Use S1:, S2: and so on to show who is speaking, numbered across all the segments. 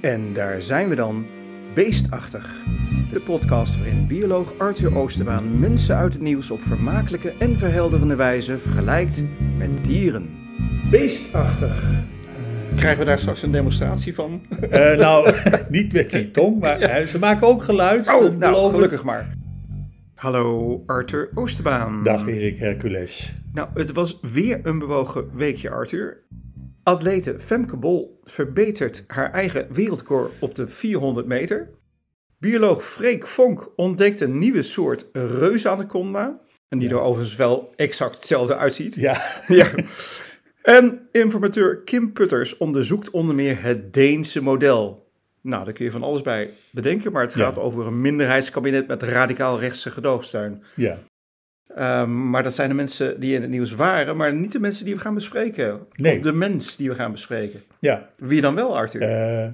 S1: En daar zijn we dan, Beestachtig. De podcast waarin bioloog Arthur Oosterbaan mensen uit het nieuws op vermakelijke en verhelderende wijze vergelijkt met dieren. Beestachtig.
S2: Krijgen we daar straks een demonstratie van?
S1: Oh,
S3: Eh, nou, niet met die tong, maar eh, ze maken ook geluid.
S1: Oh,
S3: dat beloof
S1: nou,
S3: ik.
S1: gelukkig maar. Hallo Arthur Oosterbaan.
S3: Dag Erik Hercules.
S1: Nou, het was weer een bewogen weekje, Arthur. Atlete Femke Bol verbetert haar eigen wereldrecord op de 400 meter. Bioloog Freek Vonk ontdekt een nieuwe soort reusanaconda. En die er overigens wel exact hetzelfde uitziet.
S3: Ja,
S1: Ja. En informateur Kim Putters onderzoekt onder meer het Deense model. Nou, daar kun je van alles bij bedenken, maar het
S3: Ja.
S1: gaat over een minderheidskabinet met radicaal rechtse gedoogsteun.
S3: ja.
S1: Ehm, maar dat zijn de mensen die in het nieuws waren, maar niet de mensen die we gaan bespreken.
S3: Nee.
S1: Of de mens die we gaan bespreken.
S3: ja.
S1: Wie dan wel, Arthur?
S3: Eh,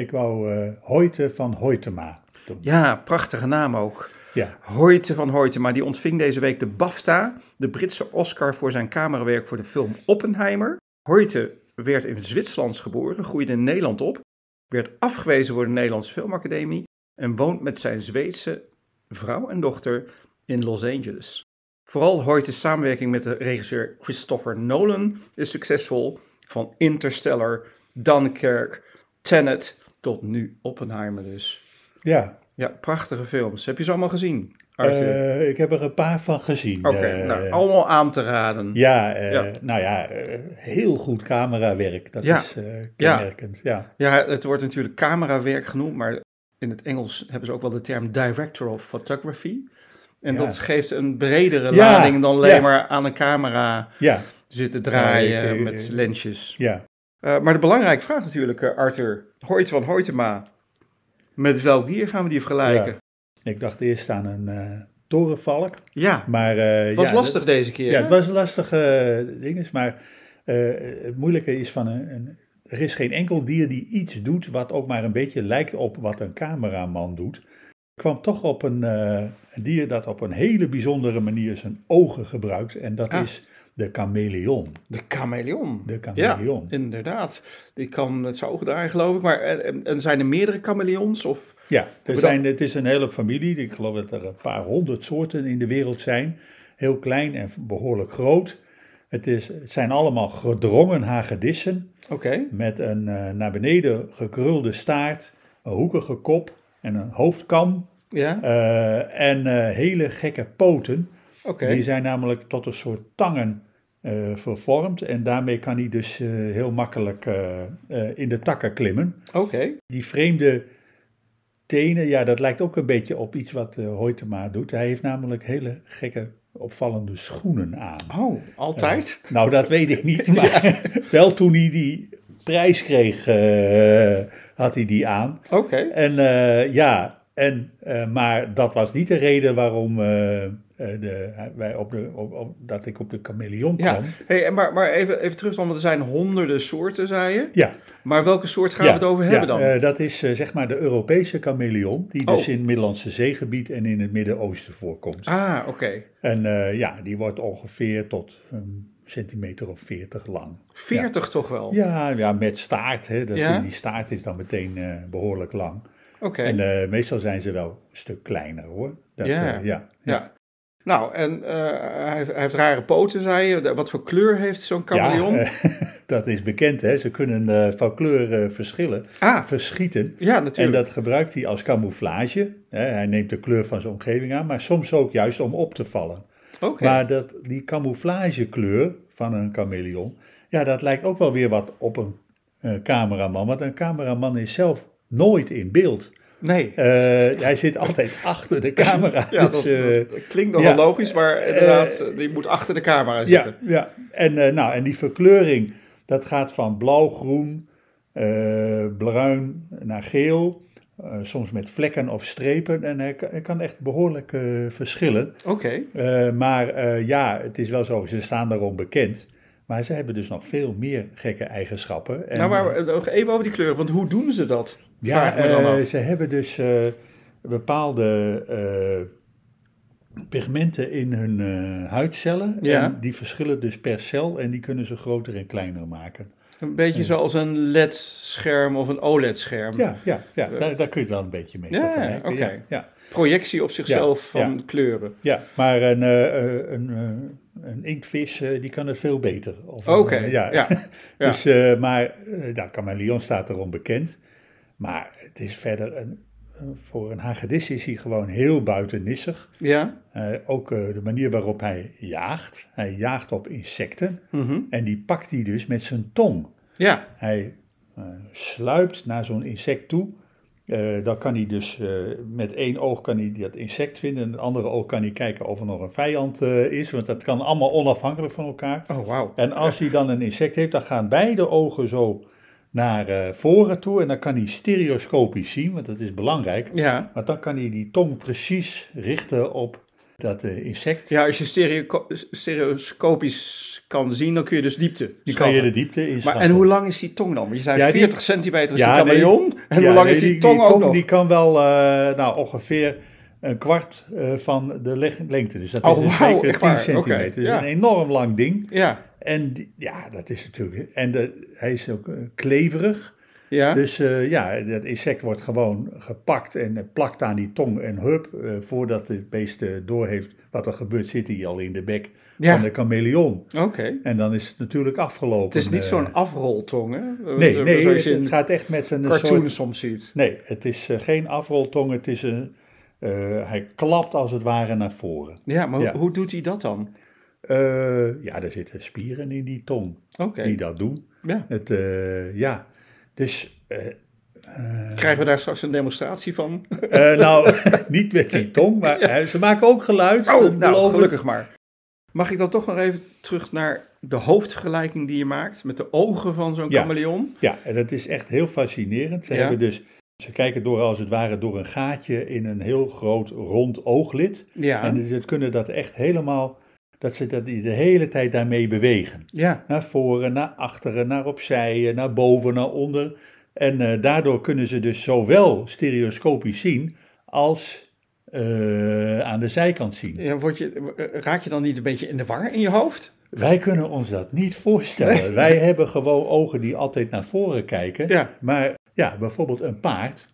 S3: ik wou eh Hoyte van Hoytema. doen.
S1: Ja, prachtige naam ook.
S3: Ja,
S1: Hoyte van Hoyte, maar die ontving deze week de BAFTA, de Britse Oscar voor zijn camerawerk voor de film Oppenheimer. Hoyte werd in Zwitserland geboren, groeide in Nederland op, werd afgewezen door de Nederlandse Filmacademie en woont met zijn Zweedse vrouw en dochter in Los Angeles. Vooral Hoyte's samenwerking met de regisseur Christopher Nolan is succesvol, van Interstellar, Dunkirk, Tenet tot nu Oppenheimer dus.
S3: ja.
S1: Ja, prachtige films. Heb je ze allemaal gezien, Arthur?
S3: Eh, ik heb er een paar van gezien.
S1: Oké,
S3: Eh,
S1: nou, allemaal aan te raden.
S3: ja, eh,
S1: Ja.
S3: nou ja, eh, heel goed camerawerk. Dat
S1: Ja.
S3: is eh kenmerkend. Ja.
S1: Ja, het wordt natuurlijk camerawerk genoemd, maar in het Engels hebben ze ook wel de term director of photography. En
S3: Ja.
S1: dat geeft een bredere
S3: Ja,
S1: lading dan alleen
S3: ja.
S1: maar aan een camera
S3: Ja.
S1: zitten draaien
S3: Ja, ik- ik-
S1: met lensjes.
S3: ja.
S1: Eh, maar de belangrijke vraag natuurlijk, eh, Arthur. Hoyt van Hoytema. Met welk dier gaan we die vergelijken?
S3: Ik dacht eerst aan een eh, torenvalk.
S1: Ja,
S3: Maar, eh,
S1: was
S3: ja, dat-
S1: lastig deze keer.
S3: Ja,
S1: hè?
S3: het was een lastige eh, ding, is, maar eh, het moeilijke is van een, een- Er is geen enkel dier die iets doet wat ook maar een beetje lijkt op wat een cameraman doet. Ik kwam toch op een, eh, een dier dat op een hele bijzondere manier zijn ogen gebruikt. En dat
S1: Ah.
S3: is de chameleon.
S1: De chameleon.
S3: De chameleon.
S1: Ja, inderdaad. Die kan met zijn ogen draaien, geloof ik. Maar eh, en, en zijn er meerdere chameleons? Of...
S3: Ja, er
S1: Bedankt.
S3: zijn, het is een hele familie. Ik geloof dat er een paar honderd soorten in de wereld zijn. Heel klein en behoorlijk groot. Het, is, het zijn allemaal gedrongen hagedissen.
S1: Oké.
S3: met een eh, naar beneden gekrulde staart, een hoekige kop en een hoofdkam.
S1: Ja,
S3: eh, en eh, hele gekke poten.
S1: oké.
S3: Die zijn namelijk tot een soort tangen eh, vervormd. En daarmee kan hij dus eh, heel makkelijk eh, eh, in de takken klimmen.
S1: Oké.
S3: Die vreemde tenen, ja, dat lijkt ook een beetje op iets wat eh Hoytema doet. Hij heeft namelijk hele gekke, opvallende schoenen aan.
S1: Oh, altijd?
S3: Nou, dat weet ik niet, maar wel toen hij die prijs kreeg, eh, had hij die aan.
S1: Oké.
S3: En eh, ja, en, eh, maar dat was niet de reden waarom eh, eh, de, wij op de, op, op- dat ik op de chameleon
S1: Ja,
S3: kwam.
S1: hey, maar, maar even, even terug dan, want er zijn honderden soorten, zei je.
S3: Ja,
S1: Maar welke soort gaan
S3: ja,
S1: we het over hebben
S3: ja,
S1: dan?
S3: eh, dat is eh, zeg maar de Europese chameleon, die
S1: Oh.
S3: dus in het Middellandse zeegebied en in het Midden-Oosten voorkomt.
S1: ah, oké.
S3: En eh, ja, die wordt ongeveer tot een centimeter of veertig lang.
S1: 40 toch wel?
S3: Ja, ja met staart. Hè. Dat,
S1: Ja.
S3: Die staart is dan meteen eh, behoorlijk lang.
S1: Oké.
S3: En eh, meestal zijn ze wel een stuk kleiner hoor. Dat,
S1: Ja.
S3: eh, ja.
S1: Ja. Nou, en eh, hij, heeft- hij heeft rare poten, zei je. Wat voor kleur heeft zo'n chameleon?
S3: Ja, eh, dat is bekend hè. Ze kunnen eh, van kleur eh, verschillen,
S1: ah,
S3: verschieten.
S1: ja, natuurlijk.
S3: En dat gebruikt hij als camouflage. Hè. Hij neemt de kleur van zijn omgeving aan, maar soms ook juist om op te vallen.
S1: Oké.
S3: Maar dat, die camouflagekleur van een chameleon, ja, dat lijkt ook wel weer wat op een, eh, cameraman. Want een cameraman is zelf nooit in beeld.
S1: Nee.
S3: Eh, hij zit altijd achter de camera.
S1: Ja,
S3: dus,
S1: dat,
S3: eh,
S1: dat klinkt nogal
S3: ja. Eh,
S1: logisch, maar inderdaad, eh, die moet achter de camera
S3: ja,
S1: zitten.
S3: ja. En, eh, nou, en die verkleuring, dat gaat van blauw-groen, eh, bruin naar geel. eh, soms met vlekken of strepen. En hij, kan- hij kan echt behoorlijk eh, verschillen.
S1: Oké.
S3: Eh, maar eh, ja, het is wel zo, ze staan daarom bekend. Maar ze hebben dus nog veel meer gekke eigenschappen. En,
S1: Nou, maar eh, nog even over die kleuren, want hoe doen ze dat?
S3: Ja,
S1: Vraag me dan
S3: eh,
S1: af.
S3: ze hebben dus eh, bepaalde eh, pigmenten in hun eh, huidcellen.
S1: Ja.
S3: En die verschillen dus per cel en die kunnen ze groter en kleiner maken.
S1: Een beetje zoals een LED-scherm of een OLED-scherm.
S3: Ja, ja, ja daar, daar kun je dan een beetje mee.
S1: Eh. Ja,
S3: tot vergelijken,
S1: oké.
S3: Ja, ja,
S1: Projectie op zichzelf
S3: Ja,
S1: van kleuren.
S3: ja. maar een, eh, eh, een, eh, een inktvis eh, die kan het veel beter. Of een,
S1: Oké,
S3: eh,
S1: ja. ja.
S3: Dus, eh, maar eh, nou, Kameleon staat erom bekend. Maar het is verder, een, een- voor een hagedis is hij gewoon heel buitennissig. Eh, ook eh, de manier waarop hij jaagt. Hij jaagt op insecten
S1: mhm.
S3: en die pakt hij dus met zijn tong.
S1: Ja,
S3: Hij eh, sluipt naar zo'n insect toe. Eh, dan kan hij dus eh, met één oog kan hij dat insect vinden. En het andere oog kan hij kijken of er nog een vijand eh, is. Want dat kan allemaal onafhankelijk van elkaar.
S1: oh wauw.
S3: En als hij dan een insect heeft, dan gaan beide ogen zo naar eh, voren toe. En dan kan hij stereoscopisch zien, want dat is belangrijk.
S1: Ja.
S3: Want dan kan hij die tong precies richten op dat eh, insect.
S1: ja, als je stereo stereoscopisch kan zien, dan kun je dus diepte
S3: Dan kan je
S1: schatten.
S3: de diepte
S1: maar,
S3: inschatten.
S1: en hoe lang is die tong dan? Want je zei
S3: Ja, die-
S1: 40 centimeter is
S3: Ja,
S1: die
S3: nee.
S1: kameleon. en
S3: Ja,
S1: hoe lang
S3: nee,
S1: is die, tong ook nog?
S3: die kan wel eh, nou, ongeveer een kwart eh, van de leg- lengte. Dus dat
S1: Oh,
S3: is dus
S1: wauw,
S3: zeker
S1: echt
S3: 10
S1: waar.
S3: centimeter.
S1: Oké,
S3: Dus
S1: ja.
S3: een enorm lang ding.
S1: Ja,
S3: En die- ja, dat is natuurlijk... En de, hij is ook eh, kleverig.
S1: ja.
S3: Dus eh, ja, dat insect wordt gewoon gepakt en eh, plakt aan die tong en hup. eh, voordat het beest eh, doorheeft wat er gebeurt, zit hij al in de bek
S1: Ja.
S3: van de chameleon.
S1: oké.
S3: En dan is het natuurlijk afgelopen.
S1: Het is niet
S3: eh.
S1: zo'n afroltong, hè?
S3: Nee,
S1: Eh,
S3: nee
S1: Zoals
S3: het,
S1: je
S3: het
S1: in
S3: gaat echt met een
S1: cartoons
S3: soort...
S1: soms ziet.
S3: Nee, het is eh, geen afroltong, het is een... eh, hij klapt als het ware naar voren.
S1: Ja, maar
S3: Ja.
S1: Hoe, hoe doet hij dat dan?
S3: Eh, ja, er zitten spieren in die tong
S1: Oké,
S3: die dat doen.
S1: ja.
S3: Het, eh, ja, dus... eh,
S1: Krijgen we daar straks een demonstratie van?
S3: eh, nou, niet met die tong, maar eh, ze maken ook geluid.
S1: Oh,
S3: dat beloof
S1: nou,
S3: ik.
S1: gelukkig maar. Mag ik dan toch nog even terug naar de hoofdvergelijking die je maakt met de ogen van zo'n
S3: Ja.
S1: chameleon?
S3: Ja, en dat is echt heel fascinerend. Ze,
S1: Ja.
S3: hebben dus, ze kijken door als het ware door een gaatje in een heel groot rond ooglid.
S1: Ja,
S3: En ze kunnen dat echt helemaal, dat ze dat die de hele tijd daarmee bewegen.
S1: ja,
S3: Naar voren, naar achteren, naar opzij, eh, naar boven, naar onder. En eh, daardoor kunnen ze dus zowel stereoscopisch zien als eh, aan de zijkant zien.
S1: ja word je, eh, raak je dan niet een beetje in de war in je hoofd?
S3: Wij kunnen ons dat niet voorstellen. Wij hebben gewoon ogen die altijd naar voren kijken.
S1: Ja,
S3: Maar ja, bijvoorbeeld een paard,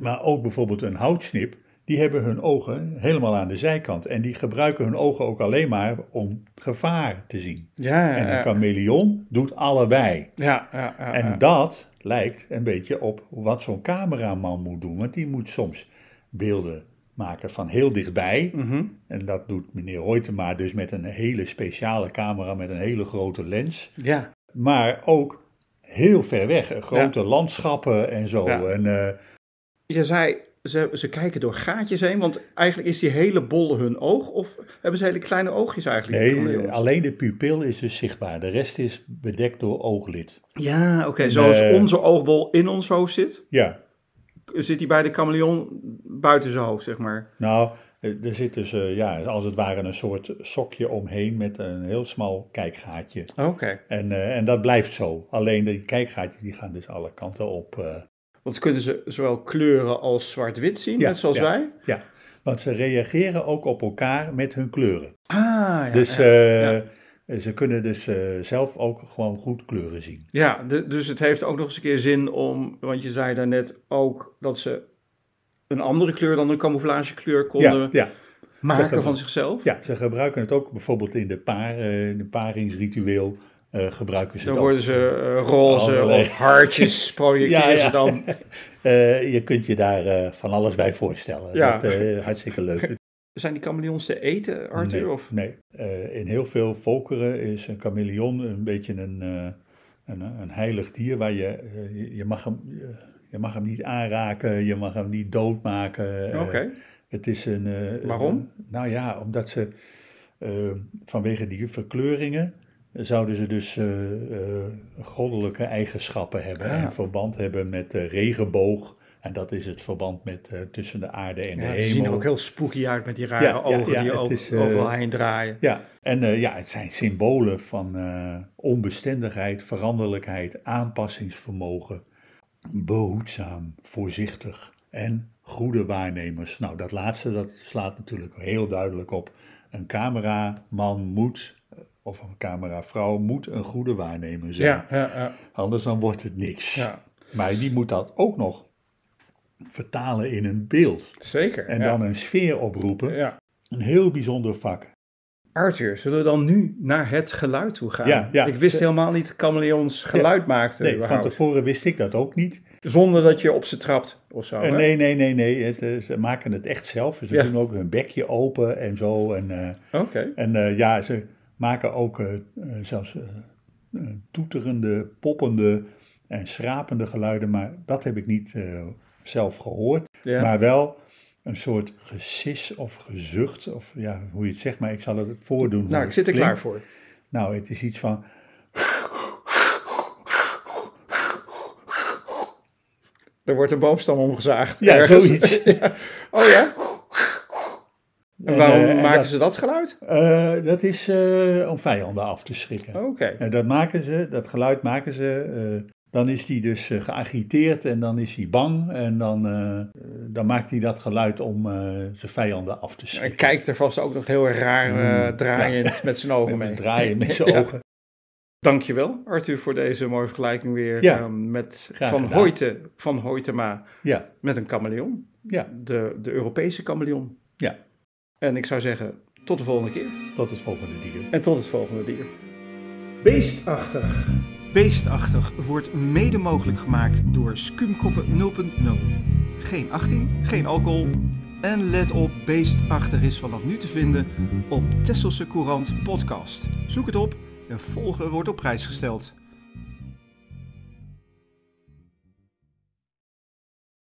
S3: maar ook bijvoorbeeld een houtsnip, die hebben hun ogen helemaal aan de zijkant. En die gebruiken hun ogen ook alleen maar om gevaar te zien.
S1: ja,
S3: En
S1: ja,
S3: een chameleon doet allebei.
S1: ja, ja, ja, ja.
S3: En dat lijkt een beetje op wat zo'n cameraman moet doen. Want die moet soms beelden maken van heel dichtbij.
S1: Mhm.
S3: En dat doet meneer Hoytema dus met een hele speciale camera met een hele grote lens
S1: ja.
S3: maar ook heel ver weg. Grote landschappen en zo.
S1: Ja.
S3: En, eh,
S1: Je zei, ze, ze kijken door gaatjes heen, want eigenlijk is die hele bol hun oog, of hebben ze hele kleine oogjes eigenlijk? die
S3: nee,
S1: chameleons?
S3: alleen de pupil is dus zichtbaar. De rest is bedekt door ooglid.
S1: Ja, oké, zoals
S3: Nee.
S1: onze oogbol in ons hoofd zit,
S3: Ja,
S1: zit die bij de chameleon buiten zijn hoofd, zeg maar.
S3: nou, eh, er zit dus eh, ja, als het ware een soort sokje omheen met een heel smal kijkgaatje.
S1: Oké.
S3: En, eh, en dat blijft zo. Alleen die kijkgaatjes die gaan dus alle kanten op. eh.
S1: Want kunnen ze zowel kleuren als zwart-wit zien,
S3: Ja,
S1: net zoals
S3: ja.
S1: wij?
S3: ja, want ze reageren ook op elkaar met hun kleuren.
S1: Ah, ja.
S3: dus
S1: ja.
S3: eh, ze kunnen dus eh, zelf ook gewoon goed kleuren zien.
S1: Ja, du- dus het heeft ook nog eens een keer zin om, want je zei daarnet ook dat ze een andere kleur dan een camouflagekleur konden
S3: Ja, ja, Zeg
S1: maken
S3: dat
S1: van
S3: maar.
S1: zichzelf.
S3: Ja, ze gebruiken het ook bijvoorbeeld in de, paar, eh, in de paringsritueel. eh, gebruiken ze
S1: Dus Dan
S3: het
S1: worden
S3: ook.
S1: ze eh, roze
S3: Allerlei.
S1: of hartjes projecteren
S3: Ja, ja.
S1: ze dan.
S3: Eh, je kunt je daar eh, van alles bij voorstellen.
S1: Ja.
S3: Dat, eh, hartstikke leuk.
S1: Zijn die chameleons te eten, Arthur?
S3: nee,
S1: Of?
S3: nee. Eh, in heel veel volkeren is een chameleon een beetje een, eh, een, een heilig dier waar je, eh, je- je, mag hem, eh, je mag hem niet aanraken, je mag hem niet doodmaken.
S1: Oké.
S3: eh, Het is een. eh,
S1: Waarom?
S3: een- nou ja, omdat ze eh, vanwege die verkleuringen zouden ze dus eh, eh, goddelijke eigenschappen hebben
S1: Ah.
S3: en verband hebben met de regenboog. En dat is het verband met, eh, tussen de aarde en de
S1: Ja, ze
S3: hemel.
S1: zien er ook heel spooky uit met die rare
S3: Ja, ja,
S1: ogen
S3: ja,
S1: die
S3: het
S1: over,
S3: is, eh,
S1: overal heen draaien.
S3: Ja, en eh, ja, het zijn symbolen van eh, onbestendigheid, veranderlijkheid, aanpassingsvermogen, behoedzaam, voorzichtig en goede waarnemers. Nou, dat laatste dat slaat natuurlijk heel duidelijk op. Een cameraman moet eh, of een cameravrouw moet een goede waarnemer zijn.
S2: Ja, ja, ja,
S3: Anders dan wordt het niks.
S2: ja.
S3: Maar die moet dat ook nog vertalen in een beeld.
S2: zeker.
S3: En
S2: ja.
S3: dan een sfeer oproepen.
S2: Ja.
S3: Een heel bijzonder vak.
S2: Arthur, zullen we dan nu naar het geluid toe gaan?
S3: Ja, ja.
S2: Ik wist helemaal niet dat chameleons geluid maakten.
S3: Nee, van
S2: überhaupt.
S3: tevoren wist ik dat ook niet.
S2: Zonder dat je op ze trapt of zo.
S3: Eh,
S2: hè?
S3: nee, nee, nee, nee. Het, eh, ze maken het echt zelf. Ze
S2: Ja.
S3: doen ook hun bekje open en zo. En, eh,
S2: Oké.
S3: en eh, ja, ze maken ook eh, eh, zelfs eh, eh, toeterende, poppende en schrapende geluiden. Maar dat heb ik niet eh, zelf gehoord.
S2: Ja.
S3: Maar wel een soort gesis of gezucht. Of ja, hoe je het zegt. Maar ik zal het voordoen. hoe
S2: nou, ik
S3: het
S2: zit er
S3: klinkt.
S2: klaar voor.
S3: Nou, het is iets van.
S2: Er wordt een boomstam omgezaagd.
S3: Ja,
S2: ergens.
S3: eh, zoiets.
S2: Ja. Oh ja? En waarom
S3: eh, en
S2: maken
S3: dat-
S2: ze dat geluid?
S3: Eh, dat is eh, om vijanden af te schrikken.
S2: Oké.
S3: En dat maken ze, dat geluid maken ze. eh, dan is hij dus eh, geagiteerd en dan is hij bang. En dan, eh, eh, dan maakt hij dat geluid om eh, zijn vijanden af te
S2: En
S3: schrikken.
S2: kijkt er vast ook nog heel erg raar eh,
S3: Mm,
S2: draaiend met zijn ogen
S3: Met
S2: mee.
S3: een draaien met zijn
S2: Ja.
S3: ogen.
S2: Dankjewel, Arthur, voor deze mooie vergelijking weer
S3: Ja.
S2: eh, met
S3: Graag
S2: van,
S3: gedaan.
S2: Hoyte, van Hoytema
S3: Ja,
S2: met een chameleon.
S3: Ja.
S2: De, de Europese chameleon.
S3: Ja.
S2: En ik zou zeggen, tot de volgende keer.
S3: tot het volgende dier.
S2: En tot het volgende dier.
S1: Beestachtig. Beestachtig wordt mede mogelijk gemaakt door Skumkoppen 0.0. Geen 18, geen alcohol. En let op, Beestachtig is vanaf nu te vinden op Tesselse Courant Podcast. Zoek het op en volgen wordt op prijs gesteld.